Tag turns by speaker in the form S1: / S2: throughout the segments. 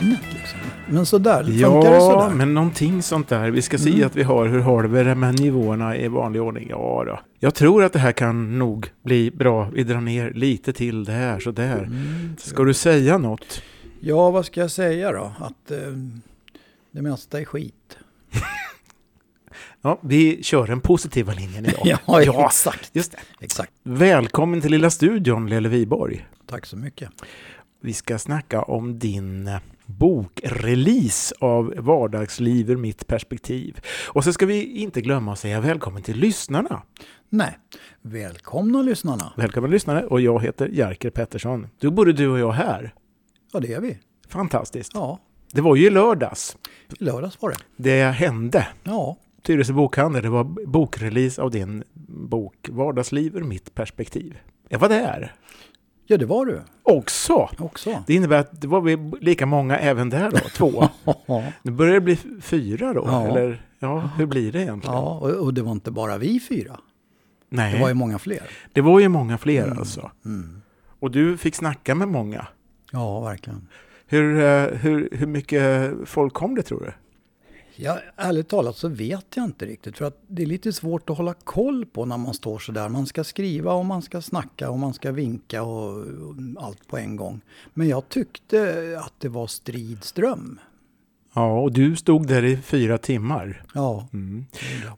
S1: ämnet. Liksom. Men sådär, funkar det
S2: Ja,
S1: sådär?
S2: men någonting sånt där. Vi ska se
S1: Mm.
S2: att vi har, hur har vi det med nivåerna i vanlig ordning? Ja då. Jag tror att det här kan nog bli bra. Vi drar ner lite till det här, sådär.
S1: Mm.
S2: Ska du säga något?
S1: Ja, vad ska jag säga då? Att eh, det mesta är skit.
S2: Ja, vi kör den positiva linjen idag. Ja,
S1: exakt.
S2: just det.
S1: exakt.
S2: Välkommen till lilla studion, Lelle Viborg.
S1: Tack så mycket.
S2: Vi ska snacka om din eh, bokrelease av Vardagsliv ur mitt perspektiv. Och så ska vi inte glömma att säga välkommen till lyssnarna.
S1: Nej, välkomna lyssnarna.
S2: Välkommen lyssnare och jag heter Jerker Pettersson. Då borde du och jag här.
S1: Ja, det är vi.
S2: Fantastiskt.
S1: Ja,
S2: Det var ju i lördags
S1: i lördags var det.
S2: det hände.
S1: Ja,
S2: Tyresö bokhandel, det var bokrelease av din bok Vardagsliv ur mitt perspektiv. Jag var där
S1: ja det var du
S2: också.
S1: också.
S2: Det innebär att det var vi lika många även där då, två.
S1: Ja,
S2: Nu börjar det bli fyra då,
S1: Ja.
S2: eller ja, hur blir det egentligen?
S1: ja och, och det var inte bara vi fyra.
S2: Nej,
S1: Det var ju många fler.
S2: många fler alltså.
S1: Mm.
S2: Och du fick snacka med många.
S1: Ja, verkligen.
S2: Hur, eh, hur, hur mycket folk kom det tror du?
S1: Ja, ärligt talat så vet jag inte riktigt. För att det är lite svårt att hålla koll på när man står så där. Man ska skriva och man ska snacka och man ska vinka och, och allt på en gång. Men jag tyckte att det var stridström.
S2: Ja, och du stod där i fyra timmar.
S1: Ja,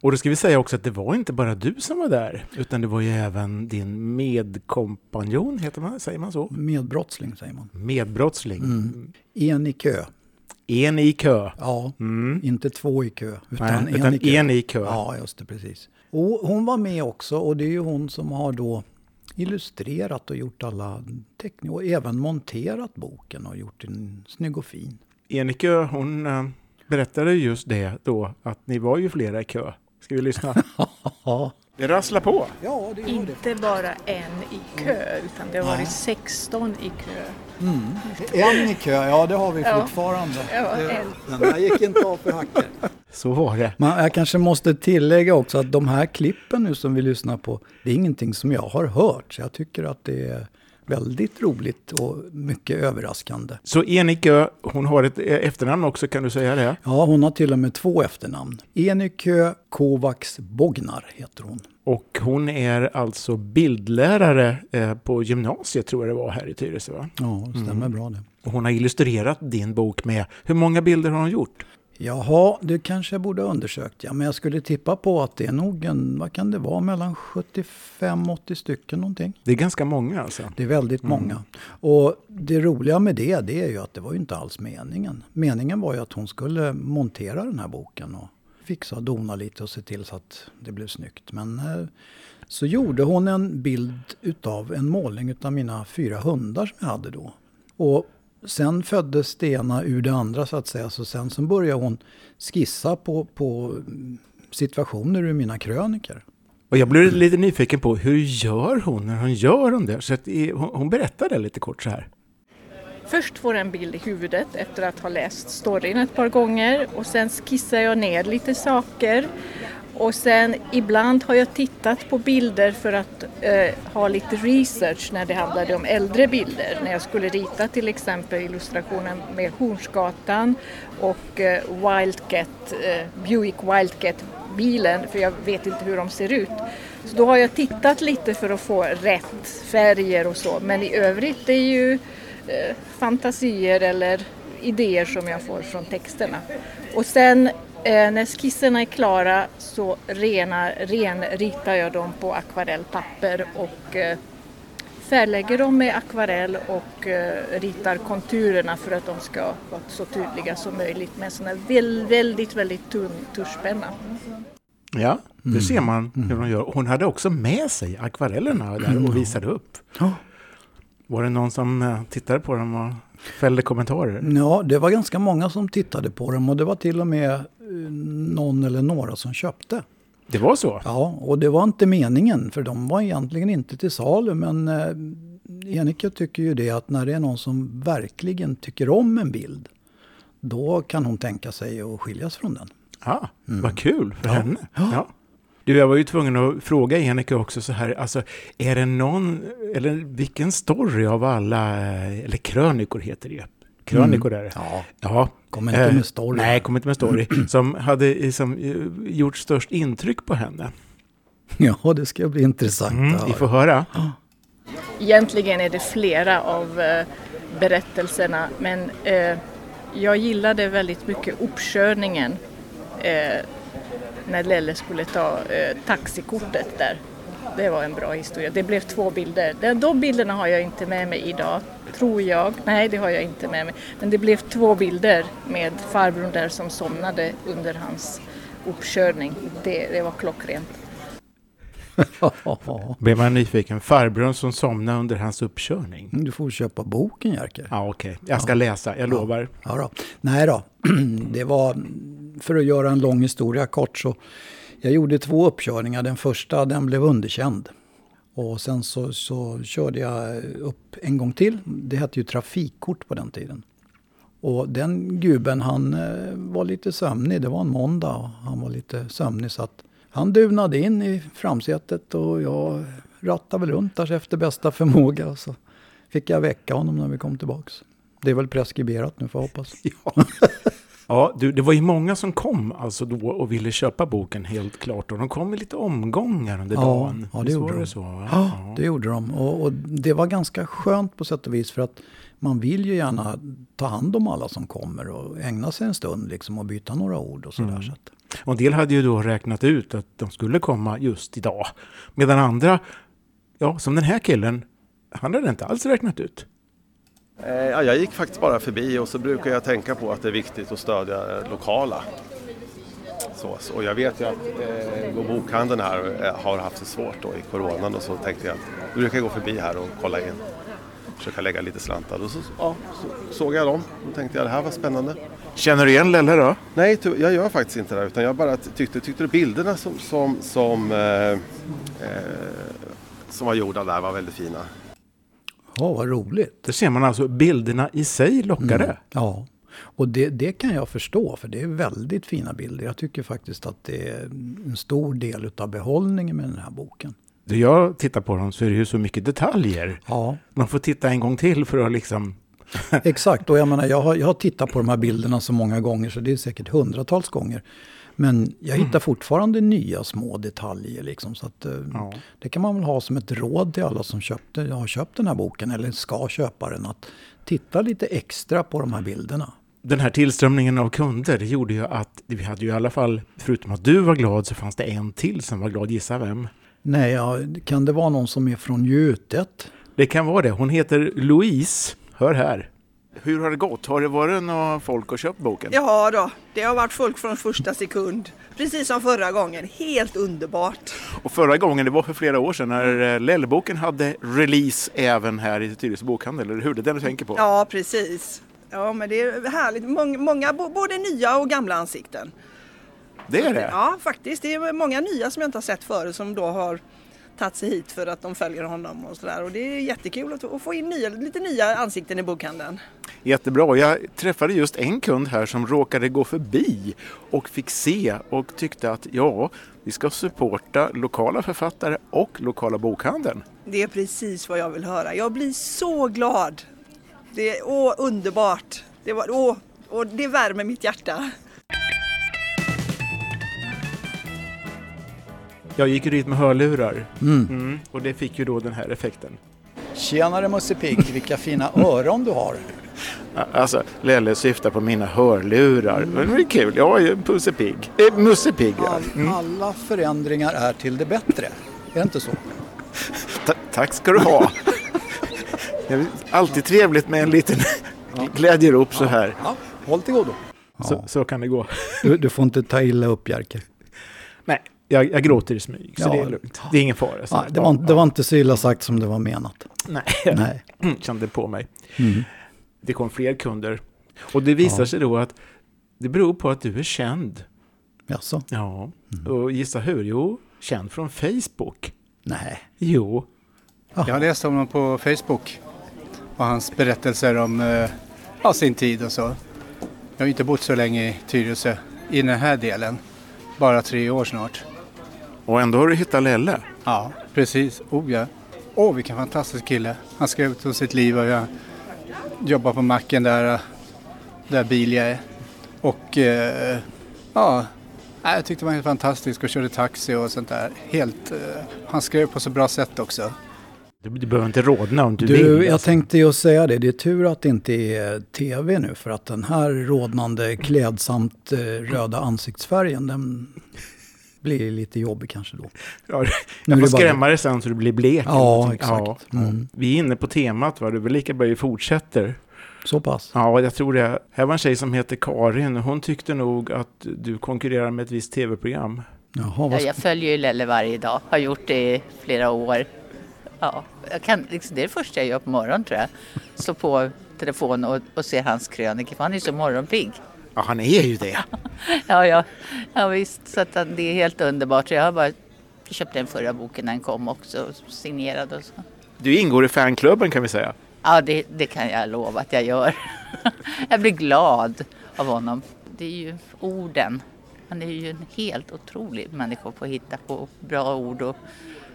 S2: Och då ska vi säga också att det var inte bara du som var där, utan det var ju även din medkompanjon, heter man, säger man så?
S1: medbrottsling säger man.
S2: Medbrottsling.
S1: Mm. En i kö.
S2: En i kö.
S1: Ja,
S2: Mm.
S1: inte två i kö. Utan,
S2: Nej, utan
S1: en i kö.
S2: en i kö.
S1: Ja, just det, precis. Och hon var med också och det är ju hon som har då illustrerat och gjort alla teckningar och även monterat boken och gjort den snygg och fin.
S2: En i kö, hon eh, berättade just det då, att ni var ju flera i kö. Ska vi lyssna?
S1: Ja,
S2: Det rasslar på.
S1: ja det gör det.
S3: Inte bara en i kö, utan det har varit 16 i kö.
S1: En i kö, ja det har vi
S3: Ja.
S1: fortfarande.
S3: Ja,
S1: Det-
S3: en.
S1: Den där gick inte av för hacken.
S2: Så var det.
S1: Men jag kanske måste tillägga också att de här klippen nu som vi lyssnar på, det är ingenting som jag har hört. Så jag tycker att det är väldigt roligt och mycket överraskande.
S2: Så en i kö, hon har ett eh, efternamn också, kan du säga det?
S1: Ja, hon har till och med två efternamn. Enikö Kovacs Bognar heter hon.
S2: Och hon är alltså bildlärare eh, på gymnasiet, tror jag det var, här i Tyresö. Va?
S1: Ja, det stämmer bra det.
S2: Och hon har illustrerat din bok med, hur många bilder har hon gjort?
S1: Jaha, det kanske jag borde ha undersökt. Ja, men jag skulle tippa på att det är nog en, vad kan det vara, mellan 75-80 stycken någonting.
S2: Det är ganska många alltså.
S1: Det är väldigt många. Och det roliga med det, det är ju att det var ju inte alls meningen. Meningen var ju att hon skulle montera den här boken och fixa och dona lite och se till så att det blev snyggt. Men eh, så gjorde hon en bild utav en målning utav mina fyra hundar som jag hade då. Och sen föddes det ena ur det andra så att säga. Så sen så började hon skissa på, på mm, situationer ur mina kröniker.
S2: Och jag blev lite nyfiken på, hur gör hon när hon gör de där? Så att, eh, hon, hon berättar det lite kort så här.
S3: Först får jag en bild i huvudet efter att ha läst storyn ett par gånger och sen skissar jag ner lite saker. Och sen ibland har jag tittat på bilder för att eh, ha lite research när det handlade om äldre bilder. När jag skulle rita till exempel illustrationen med Hornsgatan och eh, Wildcat, eh, Buick Wildcat-bilen, för jag vet inte hur de ser ut. Så då har jag tittat lite för att få rätt färger och så, men i övrigt det är ju eh, fantasier eller idéer som jag får från texterna. Och sen eh, när skisserna är klara så rena, renritar jag dem på akvarellpapper och eh, färglägger dem med akvarell och eh, ritar konturerna för att de ska vara så tydliga som möjligt med en sån här väl- väldigt, väldigt tunn tuschpenna.
S2: Ja, det ser man hur hon gör. Hon hade också med sig akvarellerna där och visade upp.
S1: Ja.
S2: Var det någon som eh, tittade på dem och fällde kommentarer?
S1: Ja, det var ganska många som tittade på dem och det var till och med eh, någon eller några som köpte.
S2: Det var så?
S1: Ja, och det var inte meningen för de var egentligen inte till salu men eh, Enika tycker ju det att när det är någon som verkligen tycker om en bild då kan hon tänka sig att skiljas från den.
S2: Ja, Ah,
S1: Mm.
S2: vad kul för henne. Ja. Du, jag var ju tvungen att fråga Enika också så här, alltså, är det någon, eller vilken story av alla, eh, eller krönikor heter det, krönikor där.
S1: Mm. Ja,
S2: Ja.
S1: Kom inte
S2: Eh,
S1: med story.
S2: Nej, kom inte med story. Som hade som, eh, gjort störst intryck på henne.
S1: ja, det ska bli intressant
S2: Mm,
S1: att
S2: vi
S1: höra.
S2: får höra.
S3: Egentligen är det flera av eh, berättelserna men eh, jag gillade väldigt mycket uppkörningen eh, när Lelle skulle ta eh, taxikortet där. Det var en bra historia. Det blev två bilder. De, de bilderna har jag inte med mig idag, tror jag. Nej, det har jag inte med mig. Men det blev två bilder med farbrorn där som somnade under hans uppkörning. Det, det var klockrent.
S1: Ja,
S2: Blir man nyfiken. Farbrorn som somnade under hans uppkörning.
S1: du får köpa boken, Jerker.
S2: Ja, okej. Jag ska läsa, jag lovar.
S1: Ja då. Nej då, det var, för att göra en lång historia kort, så jag gjorde två uppkörningar. Den första, den blev underkänd. Och sen så, så körde jag upp en gång till. Det hette ju trafikkort på den tiden. Och den gubben han eh, var lite sömnig, det var en måndag och han var lite sömnig så att han dunade in i framsätet och jag rattade väl runt där efter bästa förmåga. Och så fick jag väcka honom när vi kom tillbaks. Det är väl preskriberat nu får jag hoppas.
S2: Ja. Ja, du, det var ju många som kom alltså då och ville köpa boken helt klart. Och de kom i lite omgångar under
S1: Ja,
S2: dagen.
S1: ja, det
S2: Visst
S1: gjorde
S2: var
S1: de.
S2: så, va?
S1: Ja,
S2: Ja.
S1: det gjorde de. Och, och det var ganska skönt på sätt och vis för att man vill ju gärna ta hand om alla som kommer och ägna sig en stund liksom och byta några ord och sådär. Så att,
S2: Och en del hade ju då räknat ut att de skulle komma just idag. Medan andra, ja, som den här killen, han hade inte alls räknat ut.
S4: Eh, Ja, jag gick faktiskt bara förbi och så brukar jag tänka på att det är viktigt att stödja eh, lokala. Så, så, och jag vet ju att eh, gå bokhandeln här eh, har haft det svårt då i coronan och så tänkte jag att då brukar jag gå förbi här och kolla in. Försöka lägga lite slantar och så, ja, så såg jag dem och tänkte jag det här var spännande.
S2: Känner du igen Lelle då?
S4: Nej, ty- jag gör faktiskt inte det utan jag bara ty- tyckte, tyckte att bilderna som, som, som, eh, eh, som var gjorda där var väldigt fina.
S1: ja, vad roligt.
S2: Där ser man alltså bilderna i sig lockade.
S1: Mm. Ja, och det, det kan jag förstå för det är väldigt fina bilder. Jag tycker faktiskt att det är en stor del utav behållningen med den här boken.
S2: Då jag tittar på dem så är det ju så mycket detaljer.
S1: Ja,
S2: Man får titta en gång till för att liksom...
S1: exakt. Och jag menar, jag har, jag har tittat på de här bilderna så många gånger så det är säkert hundratals gånger. Men jag hittar fortfarande nya små detaljer liksom. Så att, eh,
S2: Ja.
S1: det kan man väl ha som ett råd till alla som köpte, har köpt den här boken eller ska köpa den. Att titta lite extra på de här bilderna.
S2: Den här tillströmningen av kunder det gjorde ju att vi hade ju i alla fall, förutom att du var glad, så fanns det en till som var glad. Gissa vem?
S1: Nej, ja, kan det vara någon som är från Jutet?
S2: Det kan vara det. Hon heter Louise. Hör här. Hur har det gått? Har det varit några folk och köpt boken?
S5: Ja då, det har varit folk från första sekund. Precis som förra gången, helt underbart.
S2: Och förra gången, det var för flera år sedan,
S5: Mm.
S2: när eh, Lelleboken hade release även här i Tyresö bokhandel, eller hur? Det är den du tänker på?
S5: Ja, precis. Ja, men det är härligt. Mång, många, bo- både nya och gamla ansikten.
S2: Det är det?
S5: Ja, faktiskt. Det är många nya som jag inte har sett förut som då har tagit sig hit för att de följer honom och sådär. Och det är jättekul att, att få in nya, lite nya ansikten i bokhandeln.
S2: Jättebra. Jag träffade just en kund här som råkade gå förbi och fick se och tyckte att ja, vi ska supporta lokala författare och lokala bokhandeln.
S5: Det är precis vad jag vill höra. Jag blir så glad. Det är åh, underbart. Det, var, åh, och det värmer mitt hjärta.
S2: Jag gick ju dit med hörlurar
S1: Mm.
S2: mm, och det fick ju då den här effekten.
S1: Tjenare Musse Pigg, vilka fina öron du har.
S2: Alltså, Lelle syftar på mina hörlurar. Men det är kul. Jag är ju Pusse Pigg. Eh, Musse Pigg, ja.
S1: All, alla förändringar är till det bättre. Är det inte så?
S2: Ta- tack ska du ha. Det är Alltid trevligt med en liten glädjerop så här.
S1: Ja, håll till godo.
S2: Så, så kan det gå.
S1: Du, du får inte ta illa upp Jerker.
S2: Nej, jag, jag gråter i smyg, så
S1: Ja.
S2: det är lugnt. Det är ingen fara. Så.
S1: Ja, det, var, det var inte så illa sagt som det var menat.
S2: Nej,
S1: Nej. Mm.
S2: kände på mig. Det kom fler kunder. Och det visar sig då att det beror på att du är känd.
S1: Jaså?
S2: Ja,
S1: Mm.
S2: och gissa hur? Jo, känd från Facebook.
S1: Nej.
S2: Jo,
S6: Jag läste om honom på Facebook och hans berättelser om eh, ja, sin tid och så. Jag har ju inte bott så länge i Tyresö i den här delen. Bara tre år snart.
S2: och ändå har du hittat Lelle.
S6: Ja, precis. Oh ja. Åh, vilken fantastisk kille. Han skrev ut om sitt liv och jag jobbar på macken där. eh, där bil jag är. Och eh, ja, nej, jag tyckte det var helt fantastisk och körde taxi och sånt där. Helt, eh, han skrev på så bra sätt också.
S7: Du, du behöver inte rodna om du,
S1: Du,
S7: vill.
S1: jag
S7: alltså.
S1: tänkte ju säga det. Det är tur att det inte är tv nu för att den här rodnande, klädsamt eh, röda ansiktsfärgen, den blir lite jobbig kanske då.
S2: Ja,
S1: Nu
S2: jag
S1: är
S2: får
S1: det bara-
S2: skrämma dig sen så du blir blek. eller
S1: Ja,
S2: någonting.
S1: exakt. Mm.
S2: Vi är inne på temat, va? du är väl lika bra vi fortsätter.
S1: Så pass.
S2: Ja, jag tror det. Här var en tjej som heter Karin. Hon tyckte nog att du konkurrerar med ett visst tv-program.
S1: Jaha,
S8: Ja,
S1: vad
S8: jag följer ju Lelle varje dag, har gjort det i flera år. Ja, jag kan, liksom, det är det första jag gör på morgonen tror jag. Slå på telefon och, och se hans krönika, för han är ju så morgonpigg.
S2: Ja, han är ju det.
S8: Ja, ja, ja visst, så att han, det är helt underbart. Så jag har bara köpt den förra boken när den kom också, signerad och så.
S2: Du ingår i fanklubben kan vi säga.
S8: Ja, det, det kan jag lova att jag gör. jag blir glad av honom. Det är ju orden. Han är ju en helt otrolig människa på att hitta på bra ord. Och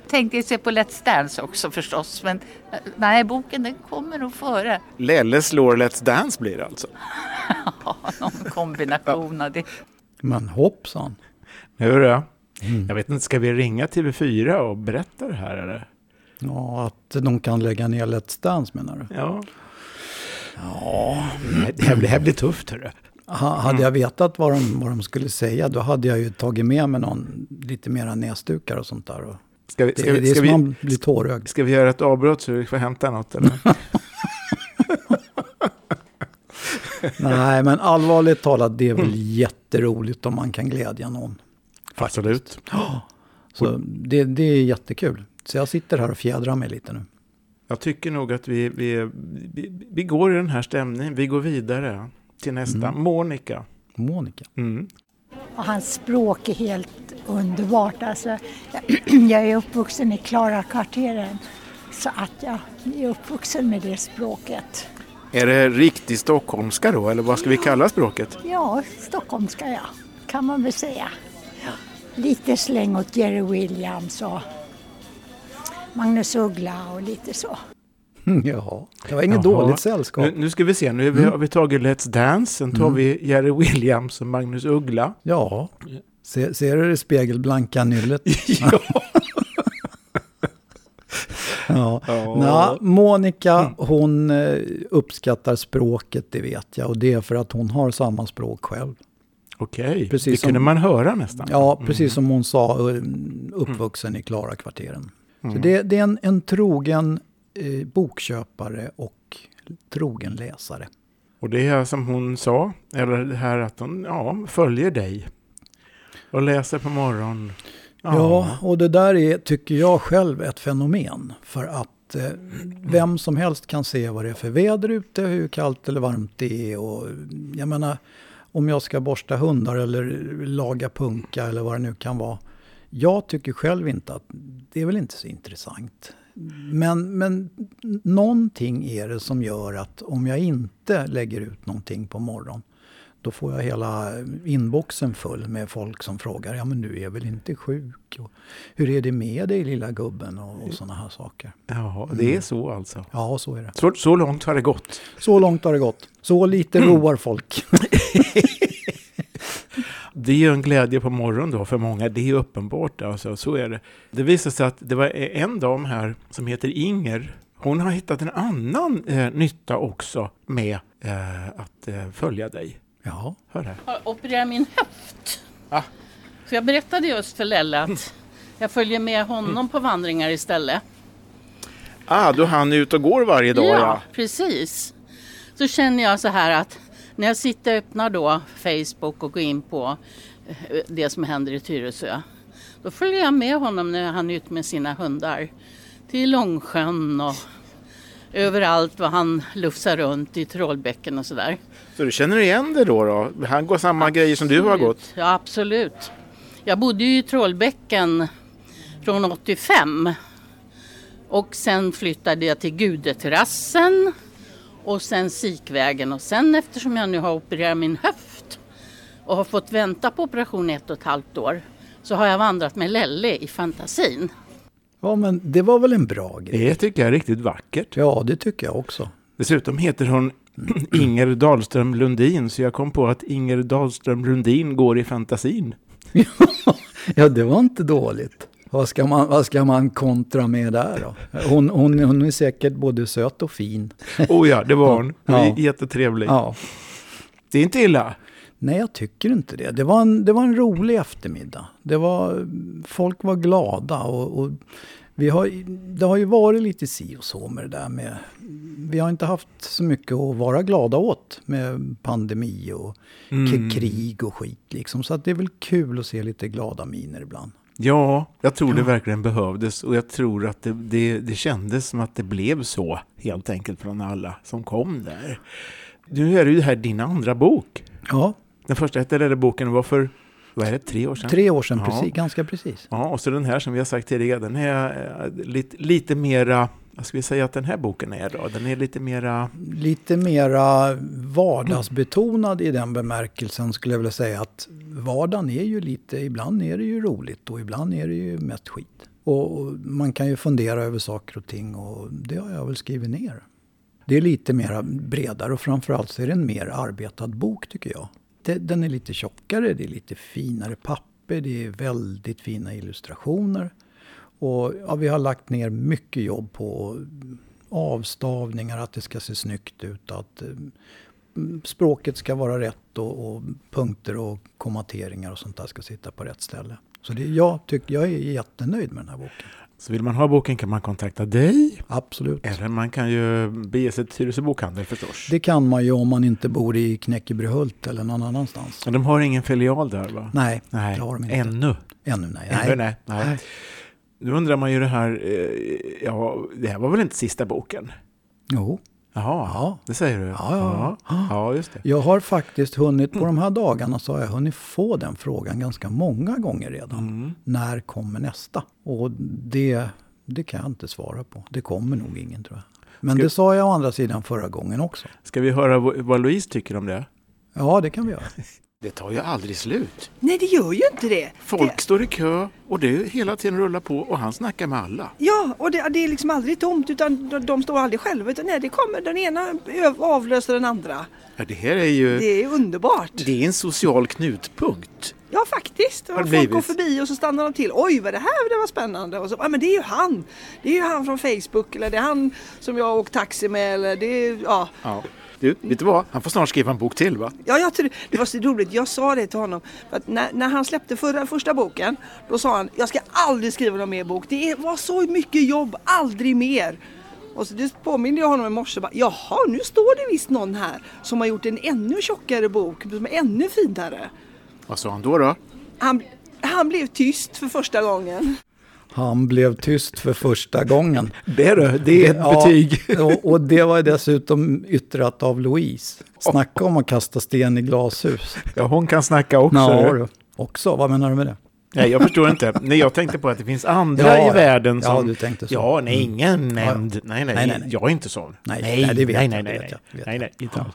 S8: tänkte se på Let's Dance också förstås, men eh, nej, boken den kommer nog före.
S2: Lelle slår Let's Dance blir det alltså.
S8: Ja, någon kombination av det.
S1: Men hoppsan.
S2: Nu du. Jag vet inte, ska vi ringa TV4 och berätta det här eller?
S1: Ja, att de kan lägga ner Let's Dance menar du?
S2: Ja. Ja. Det här blir, det här blir tufft hörru.
S1: Ha, hade
S2: Mm.
S1: jag vetat vad de, vad de skulle säga då hade jag ju tagit med mig någon lite mera näsdukar och sånt där. Och
S2: Ska vi,
S1: det,
S2: ska,
S1: det
S2: vi,
S1: är
S2: ska,
S1: som
S2: vi,
S1: man blir tårögd.
S2: ska vi göra ett avbrott så vi får hämta något eller?
S1: Nej, men allvarligt talat, det är väl jätteroligt om man kan glädja någon.
S2: Absolut.
S1: Så det, det är jättekul. Så jag sitter här och fjädrar mig lite nu.
S2: Jag tycker nog att vi, vi, vi, vi går i den här stämningen. Vi går vidare till nästa.
S1: Mm.
S2: Monica.
S1: Monica.
S2: Mm.
S9: Och hans språk är helt underbart. Alltså, jag är uppvuxen i Klarakvarteren så att jag är uppvuxen med det språket.
S2: Är det riktig stockholmska då, eller vad ska vi kalla språket?
S9: Ja, stockholmska ja, kan man väl säga. Lite släng åt Jerry Williams och Magnus Uggla och lite så.
S1: Jaha, det var inget
S2: Jaha.
S1: dåligt sällskap. Mm.
S2: Nu, nu ska vi se, nu är vi, har vi tagit Let's Dance, sen tar vi Jerry Williams och Magnus Uggla.
S1: Ja, Se, ser du det spegelblanka nyllet? ja. ja. Nå, Monica, hon eh, uppskattar språket, det vet jag. Och det är för att hon har samma språk själv.
S2: Okej,
S1: Precis
S2: det
S1: som-
S2: kunde man höra nästan.
S1: Ja, precis som hon sa, eh, uppvuxen i Klarakvarteren. Så det, det är en, en trogen eh, bokköpare och trogen läsare.
S2: Och det är som hon sa, eller det här att hon ja, följer dig och läser på morgonen.
S1: Ja, och det där är, tycker jag själv, ett fenomen. För att eh, vem som helst kan se vad det är för väder ute, hur kallt eller varmt det är. Och, jag menar, om jag ska borsta hundar eller laga punka eller vad det nu kan vara. Jag tycker själv inte att det är väl inte så intressant. Men, men någonting är det som gör att om jag inte lägger ut någonting på morgonen då får jag hela inboxen full med folk som frågar, ja men du är väl inte sjuk? Och, Hur är det med dig lilla gubben? Och, och sådana här saker.
S2: Ja, det är
S1: Mm.
S2: så alltså.
S1: Ja, så är det.
S2: Så, så långt har det gått.
S1: Så långt har det gått. Så lite roar folk.
S2: Det är ju en glädje på morgonen då för många, det är uppenbart. Alltså, så är det. Det visar sig att det var en dam här som heter Inger. Hon har hittat en annan eh, nytta också med eh, att eh, följa dig.
S1: Ja,
S2: Hör här.
S10: har opererat min höft. Så jag berättade just för Lelle att jag följer med honom på vandringar istället.
S2: Ah, då han är ute och går varje dag ja.
S10: precis. Så känner jag så här att när jag sitter och öppnar då Facebook och går in på eh, det som händer i Tyresö. Då följer jag med honom när han är ute med sina hundar. Till Långsjön och överallt vad han lufsar runt i Trollbäcken och sådär.
S2: Så du känner igen det då? då? Han går samma grejer som du har gått?
S10: Ja, absolut. Jag bodde ju i Trollbäcken från 85. Och sen flyttade jag till Gudeterrassen och sen Sikvägen. Och sen eftersom jag nu har opererat min höft och har fått vänta på operation i ett och ett halvt år så har jag vandrat med Lelle i fantasin.
S1: ja men det var väl en bra grej.
S2: Det tycker jag är riktigt vackert.
S1: Ja, det tycker jag också.
S2: Dessutom heter hon Inger Dahlström Lundin, så jag kom på att Inger Dahlström Lundin går i fantasin.
S1: ja, det var inte dåligt. Vad ska man, vad ska man kontra med där då? Hon, hon, hon är säkert både söt och fin.
S2: oh ja, det var hon. hon ja. Jättetrevlig. Ja. Det är inte illa.
S1: Nej, jag tycker inte det. Det var en, det var en rolig eftermiddag. Det var, folk var glada. och, och vi har, det har ju varit lite si och så med det där med... Vi har inte haft så mycket att vara glada åt med pandemi och mm. krig och skit. Liksom. Så att det är väl kul att se lite glada miner ibland.
S2: Ja, jag tror det verkligen behövdes och jag tror att det, det, det kändes som att det blev så helt enkelt från alla som kom där. Nu är det ju här din andra bok.
S1: Ja.
S2: Den första hette Räddarboken var för vad är det, tre år sedan?
S1: Tre år sedan, ja. precis, ganska precis.
S2: Ja, och så den här som vi har sagt tidigare, den är eh, lite, lite mera, vad ska vi säga att den här boken är då? Den är lite mera...
S1: Lite mera vardagsbetonad i den bemärkelsen skulle jag vilja säga att vardagen är ju lite, ibland är det ju roligt och ibland är det ju mest skit. Och man kan ju fundera över saker och ting och det har jag väl skrivit ner. Det är lite mera bredare och framförallt så är det en mer arbetad bok tycker jag den är lite tjockare, det är lite finare papper, det är väldigt fina illustrationer. Och ja, vi har lagt ner mycket jobb på avstavningar, att det ska se snyggt ut, att eh, språket ska vara rätt och, och, punkter och kommateringar och sånt där ska sitta på rätt ställe. Så det, jag, tyck, jag är jättenöjd med den här boken.
S2: Så vill man ha boken kan man kontakta dig.
S1: Absolut.
S2: Eller man kan ju bege sig till Tyresö bokhandel förstås.
S1: Det kan man ju om man inte bor i Knäckebyhult eller någon annanstans.
S2: Men de har ingen filial där va?
S1: Nej,
S2: nej.
S1: det har de inte.
S2: Ännu?
S1: Ännu nej.
S2: Ännu, nej. nej. nej. Nu undrar man ju det här, eh, ja, det här var väl inte sista boken?
S1: Jo.
S2: Jaha, ja. det säger du?
S1: Ja, ja.
S2: ja. ja just det.
S1: Jag har faktiskt hunnit, på de här dagarna så har jag hunnit få den frågan ganska många gånger redan. Mm. När kommer nästa? Och det, det kan jag inte svara på. Det kommer nog ingen tror jag. Men ska... det sa jag å andra sidan förra gången också.
S2: Ska vi höra vad Louise tycker om det?
S1: Ja, det kan vi göra.
S11: Det tar ju aldrig slut.
S5: Nej, det gör ju inte det.
S11: Folk
S5: det...
S11: står i kö och det hela tiden rullar på och han snackar med alla.
S5: Ja, och det, det är liksom aldrig tomt utan de, de står aldrig själva utan nej, det kommer den ena avlöser den andra.
S11: Ja, det här är ju...
S5: Det är underbart.
S11: Det är en social knutpunkt.
S5: Ja, faktiskt. Har folk går förbi och så stannar de till. Oj, vad det här det var spännande. Och så, ja, men det är ju han. Det är ju han från Facebook eller det är han som jag åkt taxi med eller det är, ja. ja.
S11: Du, vet du vad? Han får snart skriva en bok till va?
S5: Ja, jag tror, det var så roligt. Jag sa det till honom. När, när, han släppte förra, första boken, då sa han jag ska aldrig skriva någon mer bok. Det är, var så mycket jobb, aldrig mer. Och så det påminde jag honom i morse. Bara, Jaha, nu står det visst någon här som har gjort en ännu tjockare bok, som är ännu finare.
S11: Vad sa han då? då?
S5: Han, han blev tyst för första gången.
S1: Han blev tyst för första gången.
S2: Det, då, det är ett ja, betyg.
S1: Och, och det var dessutom yttrat av Louise. Snacka om att kasta sten i glashus.
S2: Ja, hon kan snacka också.
S1: Ja, du. också, vad menar du med det?
S2: Nej, jag förstår inte. Nej, jag tänkte på att det finns andra ja, i världen som...
S1: Ja, du tänkte så.
S2: Ja, nej, ingen mm. nämnd. Nej nej, nej, nej, nej, jag är inte sån.
S1: Nej, nej, det vet
S2: nej,
S1: jag.
S2: Nej, nej, nej. nej, nej, inte alls.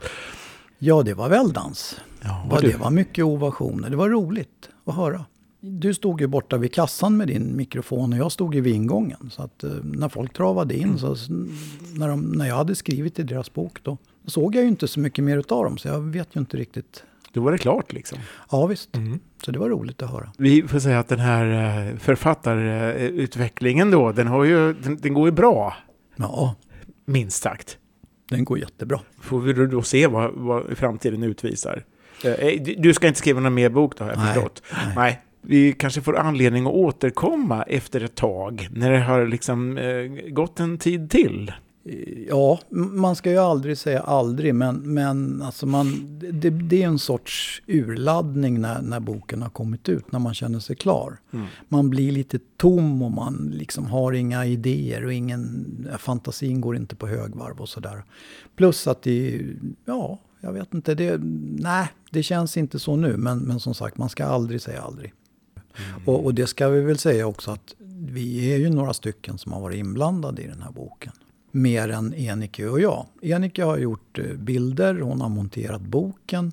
S1: Ja, det var väldans. Ja, var det var mycket ovationer. Det var roligt att höra. Du stod ju borta vid kassan med din mikrofon och jag stod ju vid ingången. Så att eh, när folk travade in, så, när, de, när jag hade skrivit i deras bok, då, då såg jag ju inte så mycket mer utav dem. Så jag vet ju inte riktigt.
S2: Då var det klart liksom?
S1: Ja, visst. Mm. Så det var roligt att höra.
S2: Vi får säga att den här eh, författarutvecklingen då, den, har ju, den, den går ju bra.
S1: Ja.
S2: Minst sagt.
S1: Den går jättebra.
S2: Får vi då se vad, vad framtiden utvisar? Eh, Du ska inte skriva någon mer bok då, har jag nej, förstått. Nej. nej vi kanske får anledning att återkomma efter ett tag, när det har liksom gått en tid till.
S1: Ja, man ska ju aldrig säga aldrig, men, men alltså man, det, det är en sorts urladdning när, när boken har kommit ut, när man känner sig klar. Mm. Man blir lite tom och man liksom har inga idéer och ingen, fantasin går inte på högvarv och sådär. Plus att det ja, jag vet inte, det, nej, det känns inte så nu, men, men som sagt, man ska aldrig säga aldrig. Mm. Och, och, det ska vi väl säga också att vi är ju några stycken som har varit inblandade i den här boken. Mer än Enike och jag. Enike har gjort eh, bilder, hon har monterat boken.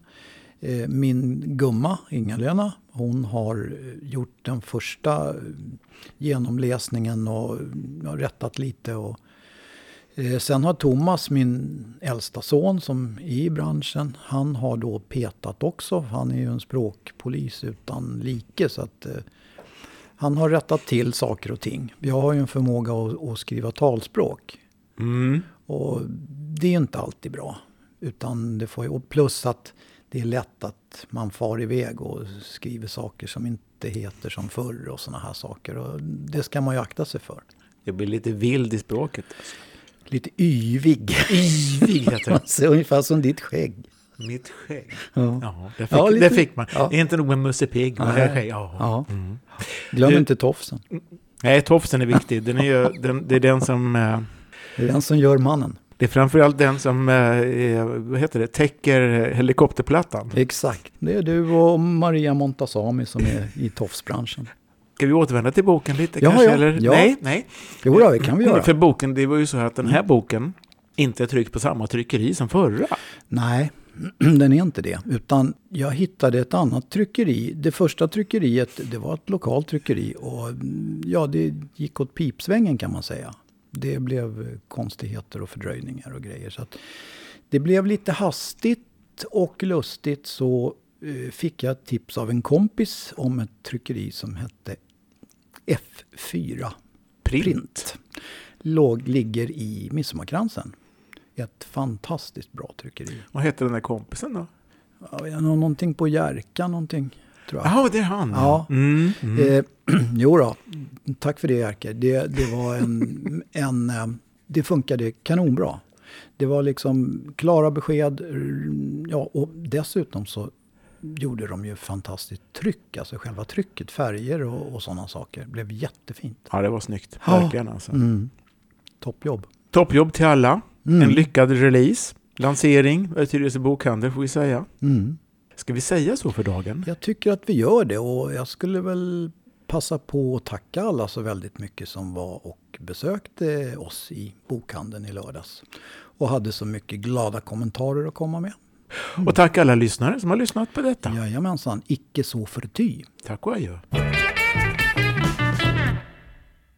S1: Eh, Min gumma, Inga-Lena, hon har eh, gjort den eh, första genomläsningen och rättat lite. Och Sen har Thomas, min äldsta son som är i branschen, han har då petat också. Han är ju en språkpolis utan like. Så att, eh, han har rättat till saker och ting. Jag har ju en förmåga att, att skriva talspråk.
S2: Mm.
S1: Och det är inte alltid bra. Utan det får, ju- och plus att det är lätt att man far iväg och skriver saker som inte heter som förr och sådana här saker. Och det ska man ju akta sig för.
S2: Jag blir lite vild i språket.
S1: Lite yvig.
S2: Yvig heter det.
S1: Alltså, Ungefär som ditt skägg.
S2: Mitt skägg.
S1: Ja.
S2: Ja, det fick,
S1: Ja, lite-
S2: det fick man.
S1: ja.
S2: Det är inte nog med Musse Pigg. men det
S1: Nej.
S2: är skägg. Ja.
S1: Ja.
S2: Mm.
S1: Glöm
S2: Du-
S1: inte tofsen.
S2: Nej, tofsen är viktig. Den är ju, den, det är den som... eh,
S1: Det är den som gör mannen.
S2: Det är framförallt den som eh, är- vad heter det, täcker eh, helikopterplattan.
S1: Exakt. Det är du och Maria Montazami som är i tofsbranschen.
S2: Ska vi återvända till boken lite
S1: Ja,
S2: kanske?
S1: ja,
S2: eller?
S1: ja.
S2: Nej, nej.
S1: Jo då, det kan vi göra. Mm.
S2: För boken, det var ju så här att den här boken inte är tryckt på samma tryckeri som förra.
S1: Nej, den är inte det. Utan jag hittade ett annat tryckeri. Det första tryckeriet, det var ett lokalt tryckeri. Och mm, ja, det gick åt pipsvängen kan man säga. Det blev eh, konstigheter och fördröjningar och grejer. Så att det blev lite hastigt och lustigt så eh, fick jag ett tips av en kompis om ett tryckeri som hette F4
S2: Print.
S1: Låg, ligger i Midsommarkransen. Ett fantastiskt bra tryckeri.
S2: Vad hette den där kompisen då?
S1: Ja, jag har någonting på Jerka någonting, tror jag.
S2: Jaha, det är han.
S1: Ja.
S2: Mm, mm.
S1: Eh, jo då, tack för det Jerker. Det, det var en, en... eh, Det funkade kanonbra. Det var liksom klara besked. r- Ja, och dessutom så gjorde de ju fantastiskt tryck. Alltså själva trycket, färger och, och sådana saker. Det blev jättefint.
S2: ja, det var snyggt.
S1: Ja.
S2: Verkligen alltså.
S1: Mm. Toppjobb.
S2: Toppjobb till alla.
S1: Mm.
S2: En lyckad release. Lansering, eh, Tyresö bokhandel får vi säga.
S1: Mm.
S2: Ska vi säga så för dagen?
S1: Jag tycker att vi gör det och jag skulle väl passa på att tacka alla så väldigt mycket som var och besökte oss i bokhandeln i lördags. Och hade så mycket glada kommentarer att komma med.
S2: Och tack alla lyssnare som har lyssnat på detta.
S1: Jajamensan, icke så förty.
S2: Tack och adjö.